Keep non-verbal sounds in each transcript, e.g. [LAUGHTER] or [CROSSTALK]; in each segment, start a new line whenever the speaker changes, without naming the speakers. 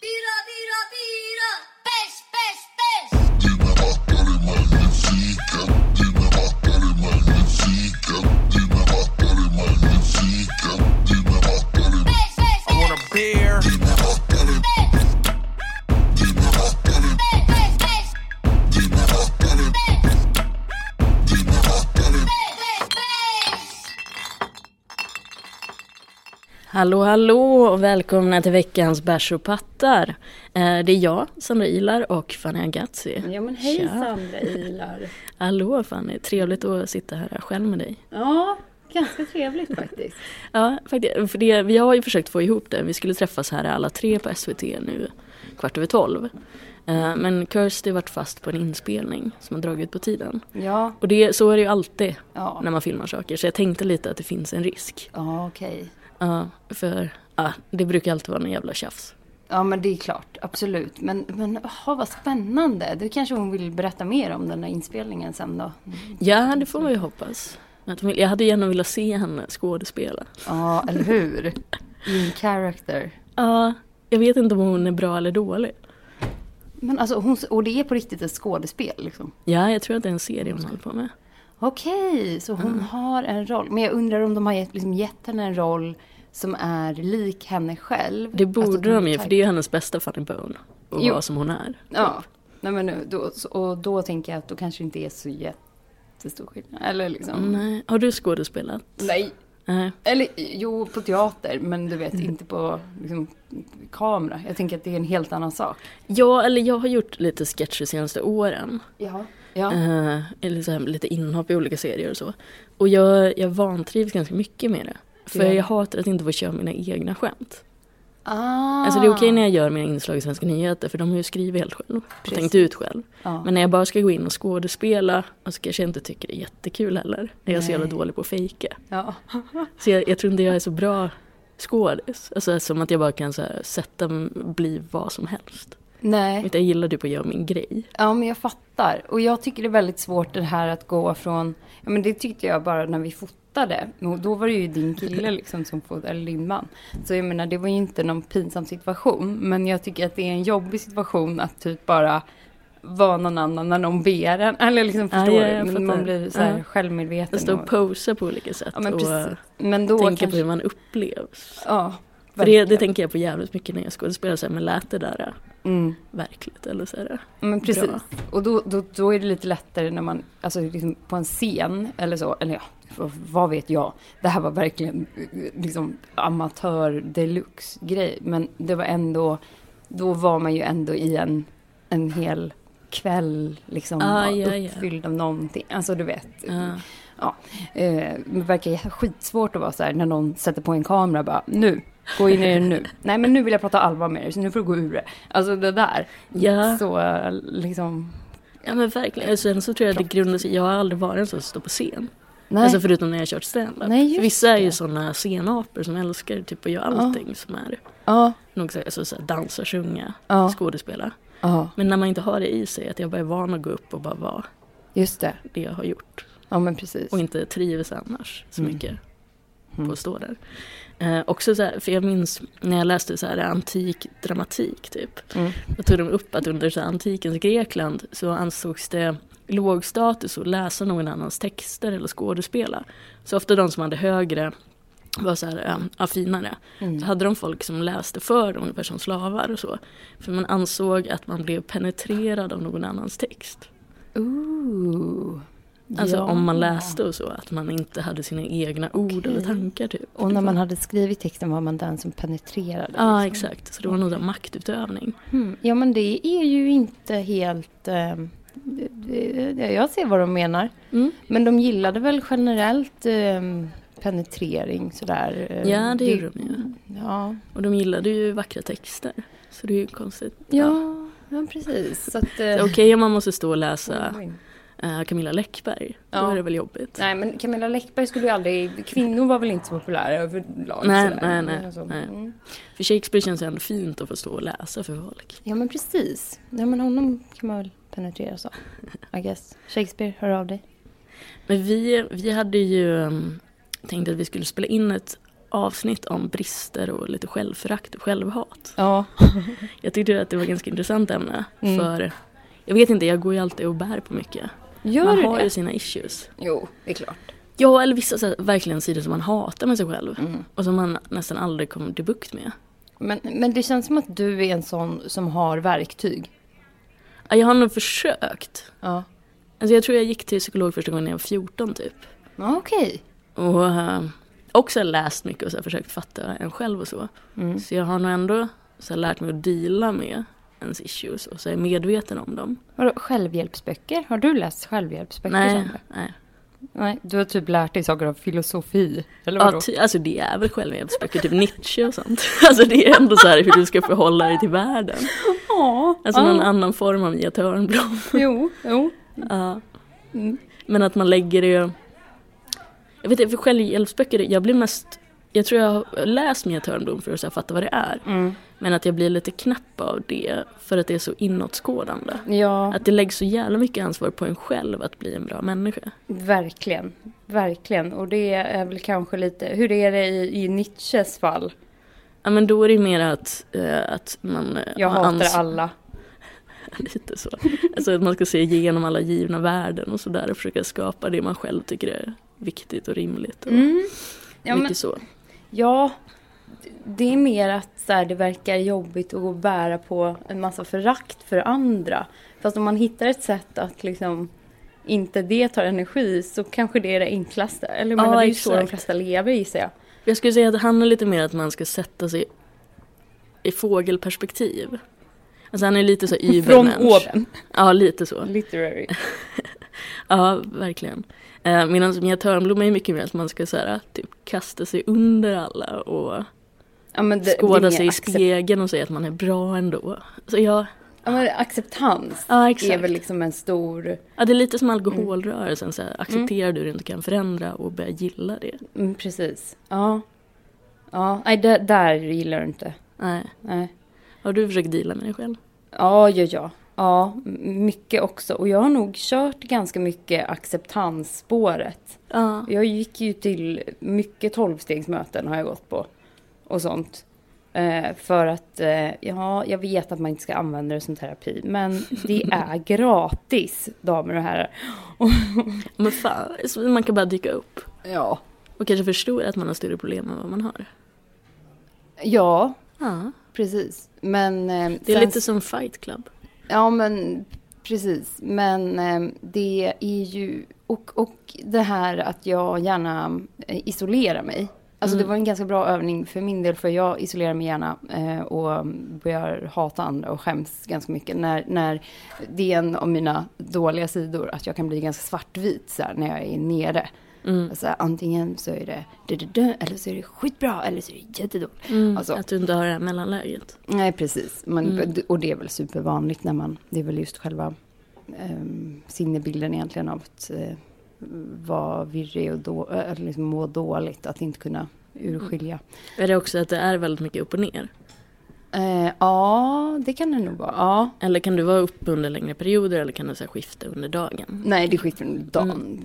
Bira, bira, bira! Bärs, bärs, bärs! Bärs, bärs,
I want a beer.
bärs! Bärs, bärs, bärs! Bärs! Bärs, bärs!
Hallå, hallå och välkomna till veckans bärs och pattar. Eh, Det är jag, Sandra Ilar och Fanny Agazzi.
Ja men hej
Tja.
Sandra Ilar.
Hallå Fanny, trevligt att sitta här själv med dig.
Ja, ganska trevligt faktiskt.
Ja, faktiskt, för det, vi har ju försökt få ihop det. Vi skulle träffas här alla tre på SVT nu kvart över tolv. Eh, Men Kirsty vart fast på en inspelning som har dragit ut på tiden.
Ja,
Och det, så är det ju alltid
Ja.
när man filmar saker, så jag tänkte lite att det finns en risk.
ja okej.
Ja, för ja, det brukar alltid vara någon jävla tjafs.
Ja men det är klart, absolut. Men, men aha, vad spännande. Du kanske hon vill berätta mer om den där inspelningen sen då?
Ja, det får man ju hoppas. Att hon vill- Jag hade gärna velat se henne skådespela.
Ja, eller hur? In character.
Ja, jag vet inte om hon är bra eller dålig.
Men alltså, hon, och det är på riktigt ett skådespel liksom?
Ja, jag tror att det är en serie
Mm.
hon håller på med.
Okej, så hon har en roll. Men jag undrar om de har gett, liksom, gett henne en roll som är lik henne själv.
Det borde
Alltså,
de ju, för det är
typ-
ju hennes bästa Funny Bone. Och
Jo.
vara som hon är.
Ja, nej men nu, då, så- och då tänker jag att då kanske det inte är så jättestor skillnad. Eller liksom,
Nej. Har du skådespelat?
nej.
Nej.
Eller jo, på teater, men du vet inte på liksom, kamera. Jag tänker att det är en helt annan sak.
Ja, eller jag har gjort lite sketcher senaste åren.
Ja. Ja.
Eh, eller så här, lite inhopp i olika serier och så. Och jag, jag vantrivs ganska mycket med det. För
Ja.
jag hatar att inte få köra mina egna skämt.
Ah.
Alltså det är okej när jag gör mina inslag i Svenska nyheter för de har ju skrivit helt själv och
Precis.
tänkt ut själv.
Ja.
Men när jag bara ska gå in och skådespela och så kanske jag inte tycker det är jättekul heller. När jag är så jävla
Nej.
dålig på att fejka.
Ja.
Så jag, jag tror inte jag är så bra skådis. Alltså som att jag bara kan så här, sätta, bli vad som helst.
Nej.
Utan jag gillar typ att göra min grej.
Ja, men jag fattar. Och jag tycker det är väldigt svårt det här att gå från... Ja, men det tyckte jag bara när vi fotade. Och då var det ju din kille liksom som fotade, eller din man. Så jag menar, det var ju inte någon pinsam situation. Men jag tycker att det är en jobbig situation att typ bara vara någon annan när någon ber en. Eller liksom,
Ja,
förstår
ja, jag
du? Men
fattar.
Man blir så här
Ja.
självmedveten.
Jag står och
och-
posar på olika sätt
Ja, men
och
precis.
tänker
Men då
på
kanske...
hur man upplevs.
Ja,
För det, det
verkligen.
tänker jag på jävligt mycket när jag skådespelar, så här, men lät det där äh,
Mm.
verkligt? Eller så här, äh,
Men precis.
Bra.
Och då, då, då är det lite lättare när man, alltså liksom på en scen eller så, eller ja, v- vad vet jag. Det här var verkligen eh, liksom amatör deluxe grej. Men det var ändå, då var man ju ändå i en, en hel kväll liksom
Ah,
och
ja, ja.
uppfylld av någonting. Alltså du vet.
äh.
Eh, men det verkar jä- skitsvårt att vara så här när någon sätter på en kamera bara nu, gå in i
[LAUGHS]
det nu. Nej men nu vill jag prata allvar med dig så nu får du gå ur det. Alltså det där.
Ja.
Så eh, liksom.
Ja men verkligen. Alltså, Sen så tror jag att det grundar sig, jag har aldrig varit en sån som står på scen.
Nej.
Alltså förutom när jag har kört standup.
Nej, just
För Vissa är ju
det.
såna scenapor som älskar typ att göra allting som är
Ja,
något så, alltså, så här, dansa, sjunga,
Ja.
skådespela.
ja,
Men när man inte har det i sig, att jag bara är van att gå upp och bara vara
just det.
det jag har gjort.
Ja, men precis.
Och inte trivs annars så
Mm.
mycket på
Mm.
att stå där. Eh, också så här, för jag minns när jag läste så här antik dramatik typ.
Mm.
Då tog de upp att under så här, antikens Grekland så ansågs det låg status att läsa någon annans texter eller skådespela. Så ofta de som hade högre var så här, eh, ja, finare.
Mm.
Så hade de folk som läste för dem, ungefär som slavar och så. För man ansåg att man blev penetrerad av någon annans text.
Ooh.
Alltså
Ja.
om man läste och så, att man inte hade sina egna ord eller tankar typ.
Och när man hade skrivit texten var man den som penetrerade.
Ja,
liksom.
exakt. Så det var någon sån här maktutövning.
Mm. Ja, men det är ju inte helt... Eh, det- det- jag ser vad de menar.
Mm.
Men de gillade väl generellt eh, penetrering sådär. eh,
Ja, det gjorde de ju.
Ja,
Och de gillade ju vackra texter. Så det är ju konstigt.
ja, ja precis. Så att, eh, Oh
Okej om man måste stå och läsa eh, Camilla Läckberg, då
Ja.
är det väl jobbigt.
Nej, men Camilla Läckberg skulle ju aldrig... Kvinnor var väl inte så populära överlag?
Nej,
sådär.
nej, nej,
Alltså,
nej.
mm.
För Shakespeare känns ju ändå fint att få stå och läsa för folk.
Ja, men precis. Ja, men honom kan man väl penetrera så. I guess. Shakespeare, hör av dig.
mm, Men vi, vi hade ju um, tänkt att vi skulle spela in ett avsnitt om brister och lite självförakt och självhat.
Ja.
Jag tyckte att det var ett ganska intressant ämne.
Mm.
För jag vet inte, jag går ju alltid och bär på mycket.
Gör
man
du
har
det?
ju sina issues.
Jo, det är klart.
Ja, eller vissa så här, verkligen sidor som man hatar med sig själv.
Mm.
Och som man nästan aldrig kommer till bukt med.
Men, men det känns som att du är en sån som har verktyg.
Ja, Jag har nog försökt.
Ja.
Alltså jag tror jag gick till psykolog första gången när jag var 14 typ.
Ja, Okej.
Och eh, också läst mycket och så här, försökt fatta en själv och så.
Mm.
Så jag har nog ändå så här, lärt mig att deala med ens issues och så är medveten om dem.
Vadå, självhjälpsböcker? Har du läst självhjälpsböcker?
Nej,
Sandra?
nej.
Nej, du har typ lärt dig saker om filosofi. Eller vadå?
Ja, ty, alltså det är väl självhjälpsböcker, typ Nietzsche och sånt. [LAUGHS] Alltså det är ändå så här hur du ska förhålla dig till världen.
Ja.
Alltså
ja.
någon annan form av Mia Törnblom.
Jo, jo.
Ja.
Mm.
Men att man lägger det... Jag vet inte, för självhjälpsböcker, jag blir mest... Jag tror jag har läst Mia Törnblom för att så här fatta vad det är.
Mm.
Men att jag blir lite knäpp av det för att det är så inåtskådande.
Ja,
Att det läggs så jävla mycket ansvar på en själv att bli en bra människa.
verkligen. Verkligen. Och det är väl kanske lite, hur är det i, i Nietzsches fall?
Ja men då är det mer att, eh, att man... eh,
Jag
har
hatar
ans-
alla.
[LAUGHS] Lite så. Alltså att man ska se igenom alla givna värden och sådär och försöka skapa det man själv tycker är viktigt och rimligt. Och
Mm. Ja, men,
mycket så.
ja, det är mer att så här, det verkar jobbigt att gå och bära på en massa förakt för andra. Fast om man hittar ett sätt att liksom inte det tar energi så kanske det är det enklaste. Eller jag
Ja,
menar, det är ju så de
exakt.
flesta lever gissar jag.
Jag skulle säga att det handlar lite mer om att man ska sätta sig i fågelperspektiv. Alltså han är lite så
Från
übermensch.
oben.
Ja, lite så.
Literary.
Ja, verkligen. Eh, Medan Mia Törnblom är mycket mer att man ska så här, typ kasta sig under alla och
Ja, men det, det
skåda
är
sig
mer
i
accept-
spegeln och säga att man är bra ändå. Så ja,
Ja, men acceptans
ja
är väl Mm.
exakt.
liksom en stor...
Ja, det är lite som alkoholrörelsen, så här, accepterar du det du inte kan förändra och börja gilla det.
Mm, precis. Ja. Ja, nej, det, där gillar du inte.
Nej.
Nej.
Har du försökt deala med dig själv?
Ja, ja, ja. Ja, m- mycket också. Och jag har nog kört ganska mycket acceptansspåret.
Ja.
Jag gick ju till mycket tolvstegsmöten har jag gått på. Och sånt. Eh, för att, eh, ja, jag vet att man inte ska använda det som terapi. Men det
[LAUGHS]
är gratis, damer och herrar.
Men fan, så man kan bara dyka upp.
Ja.
Och kanske förstår att man har större problem än vad man har.
Ja,
Ja.
precis. Men... eh,
Det är
sen-
lite som Fight Club.
Ja, men precis. Men eh, det är ju... Och, och det här att jag gärna eh, isolerar mig. Alltså det var en ganska bra övning för min del, för jag isolerar mig gärna eh, och börjar hata andra och skäms ganska mycket. När, när det är en av mina dåliga sidor, att jag kan bli ganska svartvit så här, när jag är nere. Alltså, antingen så är det dö-dö-dö, eller så är det skitbra, eller så är det jättedåligt. Alltså,
Att du inte har det här mellanläget.
Nej, precis. Men,
Mm.
Och det är väl supervanligt när man... Det är väl just själva ehm, sinnebilden egentligen av att eh, vara virrig och då, eller liksom må dåligt, att inte kunna urskilja.
Är det också att det är väldigt mycket upp och ner? Mm.
Eh, ja, det kan det nog vara. Ja.
Eller kan du vara uppe under längre perioder eller kan du så här skifta under dagen?
Nej, det skiter under dagen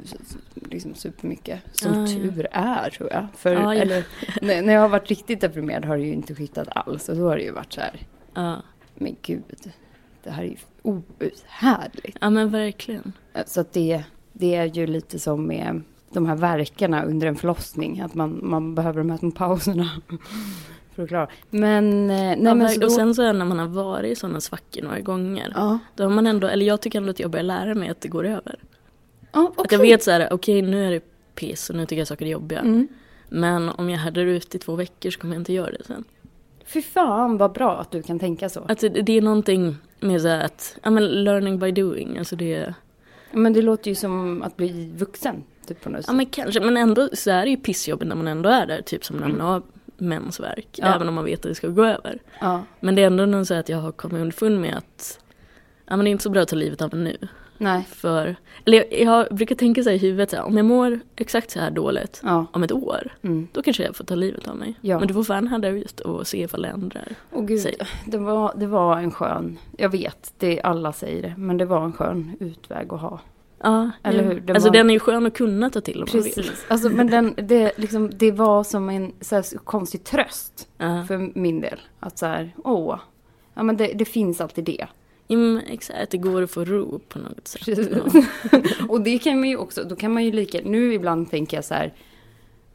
liksom supermycket. Som
Mm. Ah, ja.
tur är, tror jag. För,
Ah, ja.
eller, [LAUGHS] när, när jag har varit riktigt deprimerad har det ju inte skiftat alls. Och då har det ju varit så här,
Ja,
men gud, det här är ju outhärdligt.
ja men verkligen.
Eh, Så att det, det är ju lite som med de här verkarna under en förlossning, att man, man behöver de här små pauserna [LAUGHS] för att klara. Men, eh, nej
ja,
men
verk-
så då,
Och sen så är det när man har varit i sådana svackor några gånger.
Ja,
Då har man ändå, eller jag tycker ändå att jag börjar lära mig att det går över.
ja
Att jag
okej.
vet så här, okej nu är det piss och nu tycker jag saker är jobbiga.
Mm.
Men om jag härdar ut i två veckor så kommer jag inte göra det sen.
Fy fan vad bra att du kan tänka så.
Alltså det det är någonting med så här att, ja men learning by doing, alltså det är
Men det låter ju som att bli vuxen, typ på något
Ja
sätt.
men kanske, men ändå så är det ju pissjobbigt när man ändå är där, typ som när man har mensvärk,
Mm. Ja.
även om man vet att det ska gå över.
Ja,
Men det är ändå någon så här att jag har kommit underfund med att ja, men det är inte så bra att ta livet av mig nu.
nej,
För, eller jag, jag brukar tänka så här i huvudet, så här, om jag mår exakt så här dåligt
ja.
om ett år,
Mm.
då kanske jag får ta livet av mig.
Ja.
Men du får fan härda ut och se ifall det ändrar.
Åh gud,
Säg.
det var, det var en skön, jag vet, det alla säger det, men det var en skön utväg att ha.
Ja,
Eller
ja.
hur? Den
alltså
var-
den är ju skön att kunna ta till om man vill.
Precis. Alltså, men den, det, liksom, det var som en så här, konstig tröst
Ja.
för min del. Att så här, åh, ja, men det, det finns alltid det.
Ja, men exakt, det går att få ro på något sätt.
Precis. [LAUGHS]
Ja.
Och det kan man ju också, då kan man ju lika, nu ibland tänker jag så här,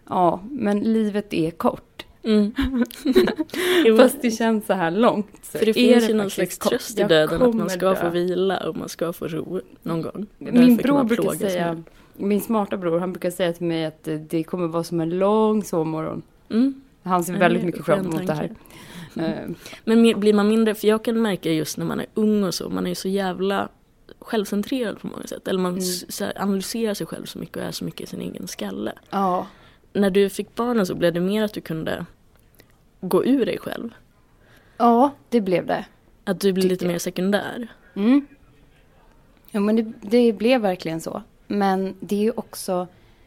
ja, men livet är kort.
Mm. Jo,
Fast det känns så här långt. Så
för det
är
finns ju någon
faktiskt
slags
kort.
tröst i
Jag
döden att man
kommer
ska få
dö.
vila och man ska få ro någon gång. Och
Min
därför kan
bror
man
brukar
plågas med
säga, min smarta bror, han brukar säga till mig att eh, det kommer vara som en lång sovmorgon.
det. Mm.
Han ser
Ja,
väldigt
det är
mycket
skön
fram emot det här.
tanke.
Eh,
Men mer- blir man mindre, för jag kan märka just när man är ung och så, man är ju så jävla självcentrerad på många sätt. Eller man
Mm.
s- så här analyserar sig själv så mycket och är så mycket i sin egen skalle.
Ja,
När du fick barnen så blev det mer att du kunde gå ur dig själv.
ja det blev det.
Att du blev
Tycker
lite
jag.
mer sekundär.
Mm. Ja, men det, det blev verkligen så. Men det är ju också,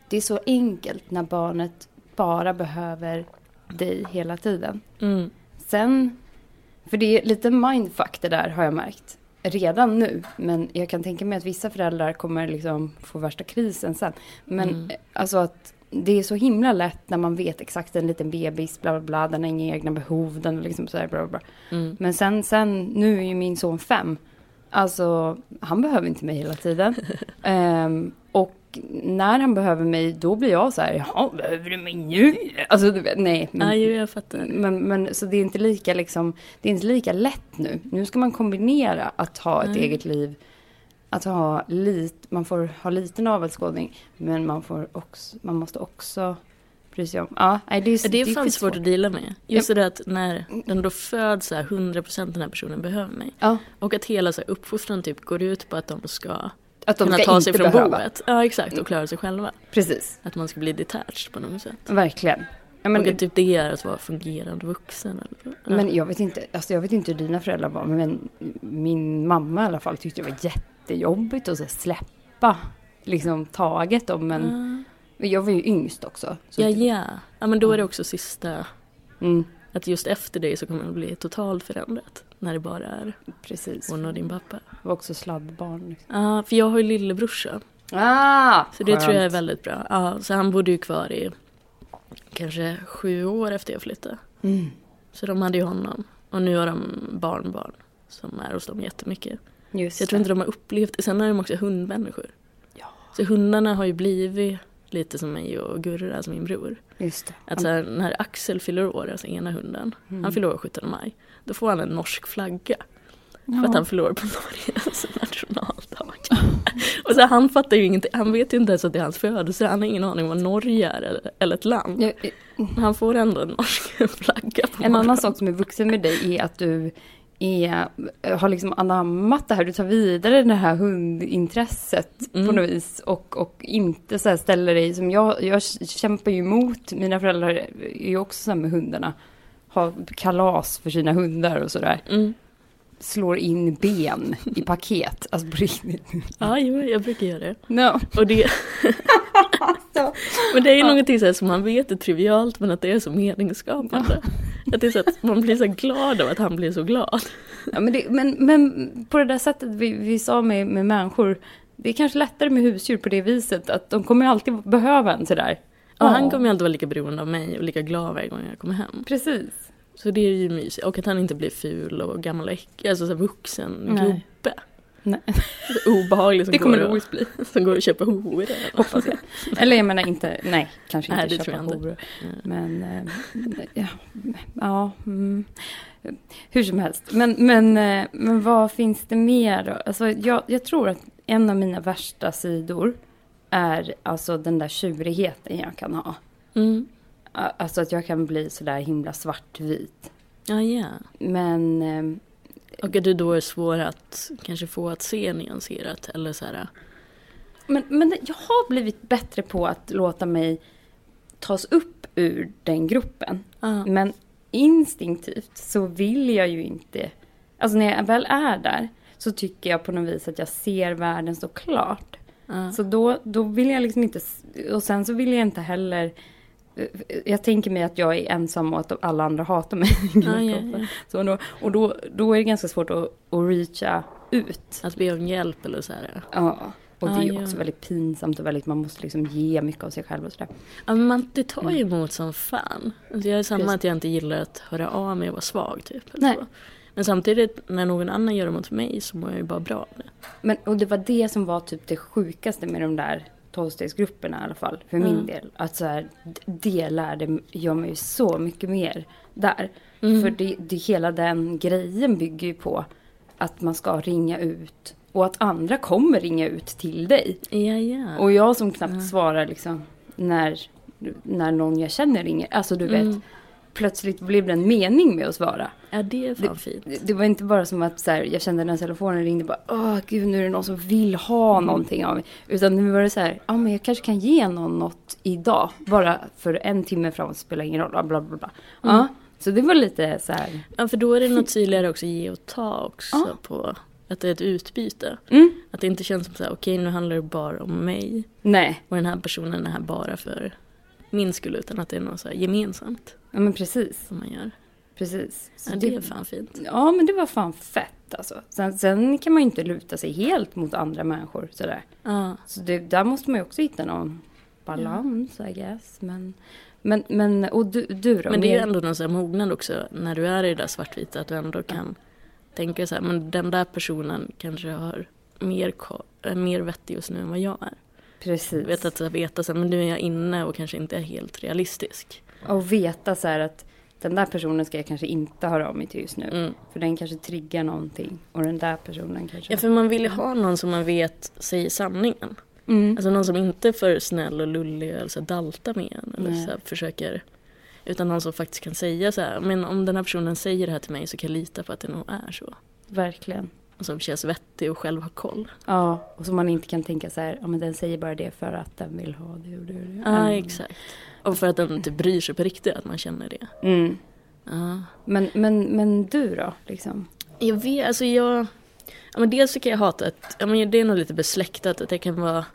det är så enkelt när barnet bara behöver dig hela tiden.
Mm.
Sen, för det är lite mindfuck det där har jag märkt. Redan nu, men jag kan tänka mig att vissa föräldrar kommer liksom få värsta krisen sen. Men
Mm.
eh, alltså att det är så himla lätt när man vet exakt en liten bebis, bla bla bla, den har inga egna behov, den är liksom så här, bla bla bla.
Mm.
Men sen, sen, nu är ju min son fem. Alltså, han behöver inte mig
[LAUGHS]
hela tiden. Ehm, och när han behöver mig, då blir jag så här, jaha, behöver du mig nu? Alltså, du vet, nej. Men,
Ja, jo, jag fattar.
men, men så det är inte lika liksom, det är inte lika lätt nu. Nu ska man kombinera att ha ett
Nej.
eget liv, att ha lit, man får ha liten avelsskådning, men man får också, man måste också bry sig om, ja, nej, det är,
Ja, Det är fan
skitsvårt.
svårt att deala med. Just det där att när den då föds så här 100% den här personen behöver mig.
Ja,
Och att hela så här uppfostran typ går ut på att de ska
att de
kunna
ska
ta sig
inte
från
behöva. Mm.
boet. Ja exakt, och klara sig själva.
Precis,
Att man ska bli detached på något sätt.
verkligen. Ja, men,
och att typ det är att vara fungerande vuxen. Eller? Ja.
men jag vet inte, alltså jag vet inte hur dina föräldrar var, men min mamma i alla fall tyckte det var jättejobbigt att så här släppa liksom taget om en,
Ja.
men jag var ju yngst också. så
Ja,
det-
ja. Ja, men då är det också sista.
Mm.
Att just efter dig så kommer det bli totalt förändrat. När det bara är
Precis.
hon och din pappa.
var också sladdbarn. liksom.
Ja, för jag har ju lillebrorsa.
Ah,
Så det tror jag är väldigt bra. Ja, så han bodde ju kvar i kanske sju år efter jag flyttade.
Mm.
Så de hade ju honom. Och nu har de barnbarn som är hos dem jättemycket.
Just
Så jag tror inte de har upplevt det. Sen är de också hundmänniskor.
Ja.
Så hundarna har ju blivit lite som mig och Gurra, alltså min bror.
det. Just det.
Att så här, när Axel fyller år, alltså ena hunden,
Mm.
han fyller år 17 maj, då får han en norsk flagga.
Ja.
För att han fyller år på Norge, alltså [LAUGHS] nationaldag. och så här, han fattar ju ingenting, han vet ju inte ens att det är hans födelse, han har ingen aning om vad Norge är eller, eller ett land.
Ja, eh,
Men han får ändå en norsk [LAUGHS] flagga på
en annan
morgonen.
sak som är vuxen med dig är att du är, har liksom anammat det här, du tar vidare det här hundintresset
Mm.
på något vis och, och inte så här ställer dig som jag, jag kämpar ju emot, mina föräldrar är ju också så här med hundarna, har kalas för sina hundar och sådär,
Mm.
slår in ben i paket, alltså på riktigt.
Ja, jo, jag brukar göra det.
No.
Och
[LAUGHS]
det... men det är ju
Ja.
någonting så här som man vet är trivialt men att det är så meningsskapande. Att det är så att man blir så här glad av att han blir så glad.
Ja, men, det, men, men på det där sättet vi, vi sa med, med människor, det är kanske lättare med husdjur på det viset att de kommer alltid behöva en sådär.
Och
Ja.
han kommer ju alltid vara lika beroende av mig och lika glad varje gång jag kommer hem.
Precis.
Så det är ju mysigt. Och att han inte blir ful och gammal och äcklig, alltså så här vuxen
Nej.
gubbe.
Nej.
Så [LAUGHS] obehaglig som,
Det kommer
går
det
och,
visst bli.
som går och köper horor.
Hoppas jag. Eller jag menar inte, nej, kanske inte
Nej, det
köpa
tror jag inte.
horor.
Ja.
Men, eh, ja, ja mm, hur som helst. Men, men, eh, men vad finns det mer då? Alltså, jag, jag tror att en av mina värsta sidor är alltså den där tjurigheten jag kan ha.
Mm.
A- Alltså att jag kan bli sådär himla svartvit.
Ja, ja.
Men eh,
Och att du då är svår att kanske få att se nyanserat eller så här.
Men, men jag har blivit bättre på att låta mig tas upp ur den gruppen.
Ja.
Men instinktivt så vill jag ju inte... Alltså när jag väl är där så tycker jag på något vis att jag ser världen så klart.
ja.
Så då, då vill jag liksom inte... s- Och sen så vill jag inte heller... Jag tänker mig att jag är ensam och att alla andra hatar mig. [LAUGHS]
Ja, ja, ja.
Så då, och då, då är det ganska svårt att, att reacha ut.
Att be om hjälp eller så här.
Ja. Och det
Ah,
är ju
ja.
också väldigt pinsamt och väldigt, man måste liksom ge mycket av sig själv och sådär.
Ja, men man, det tar ju emot som fan. Alltså jag är samma
Mm. Precis.
att jag inte gillar att höra av mig och vara svag typ. eller
Nej.
så. Men samtidigt när någon annan gör det mot mig så mår jag ju bara bra av det.
Men, och det var det som var typ det sjukaste med de där tolvstegsgrupperna i alla fall, för
Mm.
min del. Att så här, d- det lärde jag mig så mycket mer där.
Mm.
För det, det, hela den grejen bygger ju på att man ska ringa ut och att andra kommer ringa ut till dig.
Ja, ja.
Och jag som knappt svarar liksom när, när någon jag känner ringer. Alltså du vet,
Mm.
plötsligt blev det en mening med att svara.
ja, det är fan fint.
Det, det var inte bara som att så här, jag kände när telefonen ringde bara åh gud nu är det någon som vill ha
Mm.
någonting av mig. Utan nu var det så här, ja men jag kanske kan ge någon något idag. Bara för en timme framåt spelar ingen roll, bla bla bla. bla.
Mm.
Ja, så det var lite så här,
Ja, för då är det något tydligare också ge och ta också på att det är ett utbyte.
mm,
Att det inte känns som så här, okej nu handlar det bara om mig
nej,
och den här personen är här bara för min skull utan att det är något så här gemensamt
ja men precis,
som man gör.
precis. Så
Ja, det är fan fint.
Ja, men det var fan fett alltså. Sen, sen kan man ju inte luta sig helt mot andra människor sådär.
Ja,
Så det, där måste man ju också hitta någon balans, I guess. Men, men, men och du, du då?
men det är
Mer-
ju ändå någon sån här mognad också när du är i det där svartvita att du ändå kan tänka så här, men den där personen kanske har mer, ko- är mer vettig just nu än vad jag är.
Precis.
Jag vet att så här, veta så här, men nu är jag inne och kanske inte är helt realistisk.
Och veta så här att den där personen ska jag kanske inte höra av mig till just nu.
Mm.
För den kanske triggar någonting. Och den där personen kanske...
Ja, för man vill ju ha någon som man vet säger sanningen.
mm.
Alltså någon som inte är för snäll och lullig eller så här, daltar med en. Eller
Nej.
så här, försöker, utan någon som faktiskt kan säga så här, men om den här personen säger det här till mig så kan jag lita på att det nog är så.
Verkligen.
Och som känns vettig och själv har koll.
Ja, och så man inte kan tänka så här, ja men den säger bara det för att den vill ha det och det och det.
Ja,
Mm.
exakt. Och för att den inte bryr sig på riktigt, att man känner det.
Mm.
Ja.
Men, men, men du då, liksom?
Jag vet, alltså jag... Ja, men dels så kan jag hata att, ja, men det är nog lite besläktat, att jag kan vara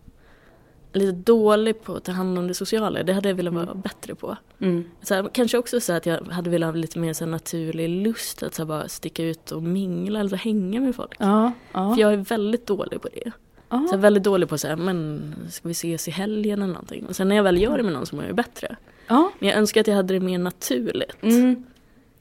lite dålig på att ta hand om det sociala. Det hade jag velat vara bättre på.
Mm.
Så här, kanske också så att jag hade velat ha lite mer så här naturlig lust att så här bara sticka ut och mingla eller så hänga med folk.
Ja, ja.
För jag är väldigt dålig på det.
Ja.
Så jag är väldigt dålig på så här, men ska vi ses i helgen eller någonting? Och sen när jag väl gör det med någon så mår jag ju bättre.
ja.
Men jag önskar att jag hade det mer naturligt
Mm.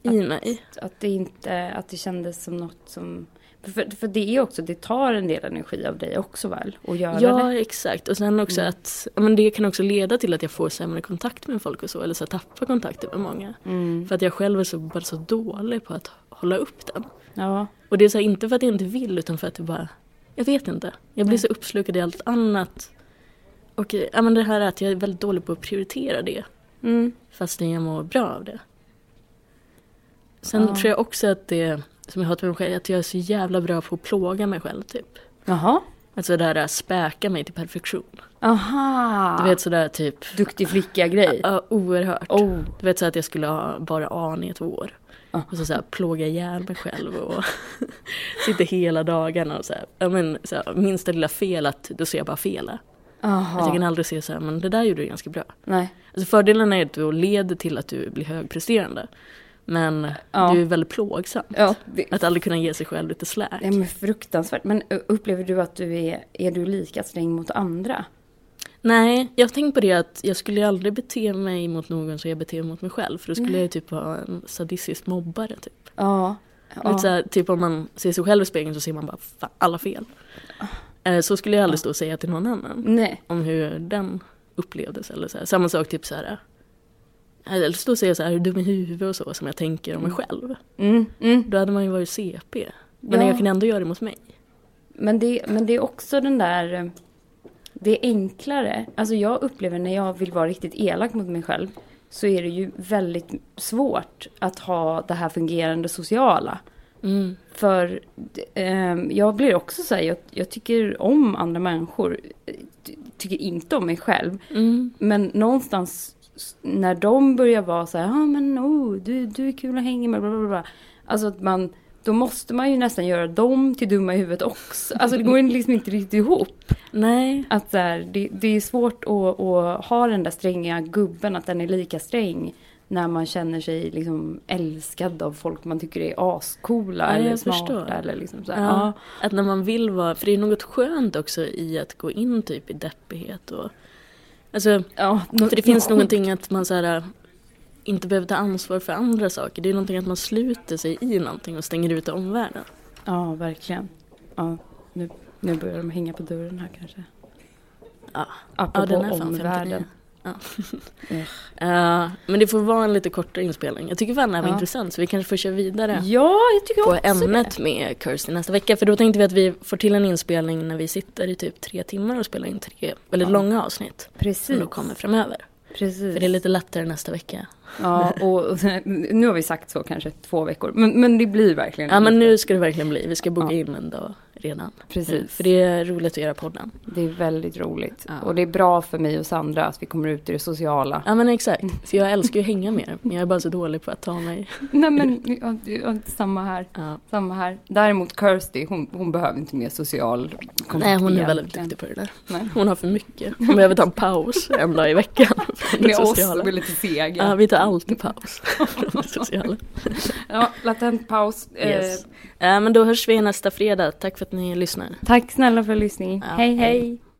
i mig.
Att, det inte, att det kändes som något som... För, för det är också, det tar en del energi av dig också väl? Att göra det? Mm.
Ja, exakt. Och sen också att ja, men det kan också leda till att jag får sämre kontakt med folk och så, eller så här, tappar kontakten med många.
Mm.
För att jag själv är så, bara så dålig på att hålla upp den.
Ja.
Och det är så här, inte för att jag inte vill utan för att jag bara, jag vet inte. Jag blir så uppslukad i allt annat. Och eh, ja, men det här är att jag är väldigt dålig på att prioritera det
Mm.
fastän jag mår bra av det. Sen
Ja.
tror jag också att det, som jag hatar med mig själv, är att jag är så jävla bra på att plåga mig själv typ.
Jaha.
Alltså det här att späka mig till perfektion.
Aha.
Du vet sådär typ,
Duktig flicka-grej.
ja, oerhört.
Oh. Ah.
Du vet så att jag skulle ha bara an i ett år.
Ja.
Och så, så här, plåga ihjäl mig själv och [LAUGHS] sitta hela dagarna och så här, ja, men, så här, minsta lilla fel att då ser jag bara fel. Att jag kan
Jaha.
aldrig se så här, men det där gjorde du ganska bra.
Nej.
Alltså fördelen är att du leder till att du blir högpresterande. Men
Ja.
du är väldigt plågsam.
Ja, det...
Att aldrig kunna ge sig själv lite släk.
Ja, men fruktansvärt. Men ö, upplever du att du är, är du lika sträng mot andra?
Nej, jag har tänkt på det att jag skulle ju aldrig bete mig mot någon som jag beter mig mot mig själv. För då skulle
Nej.
jag ju typ vara en sadistisk mobbare typ.
Ja.
Lite
Ja.
så här, typ om man ser sig själv i spegeln så ser man bara "Fan, alla fel. Eh, Så skulle jag aldrig stå och säga till någon annan
Nej.
om hur den upplevdes. Eller så här. Samma sak typ så här. eh, Eller stå och säga så här, är du dum i huvudet och så som jag tänker om mig själv.
Mm. Mm.
Då hade man ju varit CP. Men
Ja.
jag kan ändå göra det mot mig.
Men det, men det är också den där... eh, Det är enklare. Alltså jag upplever när jag vill vara riktigt elak mot mig själv så är det ju väldigt svårt att ha det här fungerande sociala.
Mm.
För ehm, jag blir också så här, jag, jag tycker om andra människor. eh, ty- Tycker inte om mig själv.
Mm.
Men någonstans s- när de börjar vara så här, ja ah, men oh, du, du är kul att hänga med, bla bla bla. Alltså att man, då måste man ju nästan göra dem till dumma i huvudet också. Alltså det går ju liksom inte riktigt ihop.
Nej.
Att så här, det, det är svårt att, att ha den där stränga gubben, att den är lika sträng när man känner sig liksom älskad av folk man tycker är ascoola
Ja, jag
eller smarta.
förstår.
Eller liksom så här.
Ja, att när man vill vara, för det är något skönt också i att gå in typ i deppighet och Alltså,
Ja, nå-
för det finns
sjukt.
någonting att man så här, äh, inte behöver ta ansvar för andra saker. Det är någonting att man sluter sig i någonting och stänger ut omvärlden.
Ja, verkligen. Ja, nu, nu börjar de hänga på dörren här kanske.
Ja. Ja,
Apropå
den är fan
omvärlden.
59. Eh, men det får vara en lite kortare inspelning. Jag tycker fan det här var
Ja.
intressant så vi kanske får köra vidare
Ja, jag tycker
på
också det.
ämnet med Kirsty nästa vecka. För då tänkte vi att vi får till en inspelning när vi sitter i typ tre timmar och spelar in tre väldigt långa avsnitt. Som
Precis.
då kommer framöver.
Precis.
För det är lite lättare nästa vecka.
Ja, och, och [LAUGHS] nu har vi sagt så kanske två veckor. Men, men det blir verkligen
Ja men nu ska det verkligen bli. Vi ska boka
Ja.
in en dag redan.
Precis.
Eh, För det är roligt att göra podden.
Det är väldigt roligt.
Ja.
Och det är bra för mig och Sandra att vi kommer ut i det sociala.
Ja men exakt. För jag älskar ju att hänga med er. Men jag är bara så dålig på att ta mig.
Nej men, ja, ja, samma här.
Ja.
Samma här. Däremot Kirsty, hon, hon behöver inte mer social kontakt
Nej hon är
egentligen.
väldigt duktig på det där.
Nej.
[LAUGHS] Hon har för mycket. Hon behöver ta en paus en dag i veckan. [LAUGHS] från det
Med oss
sociala.
och med lite seg.
Ja, vi tar alltid
[LAUGHS]
paus från det sociala. Eh,
Ja, latent paus.
Yes. Eh, men då hörs vi nästa fredag. Tack för att ni lyssnar.
Tack snälla för lyssningen.
Ja,
hej.
hej.
hej.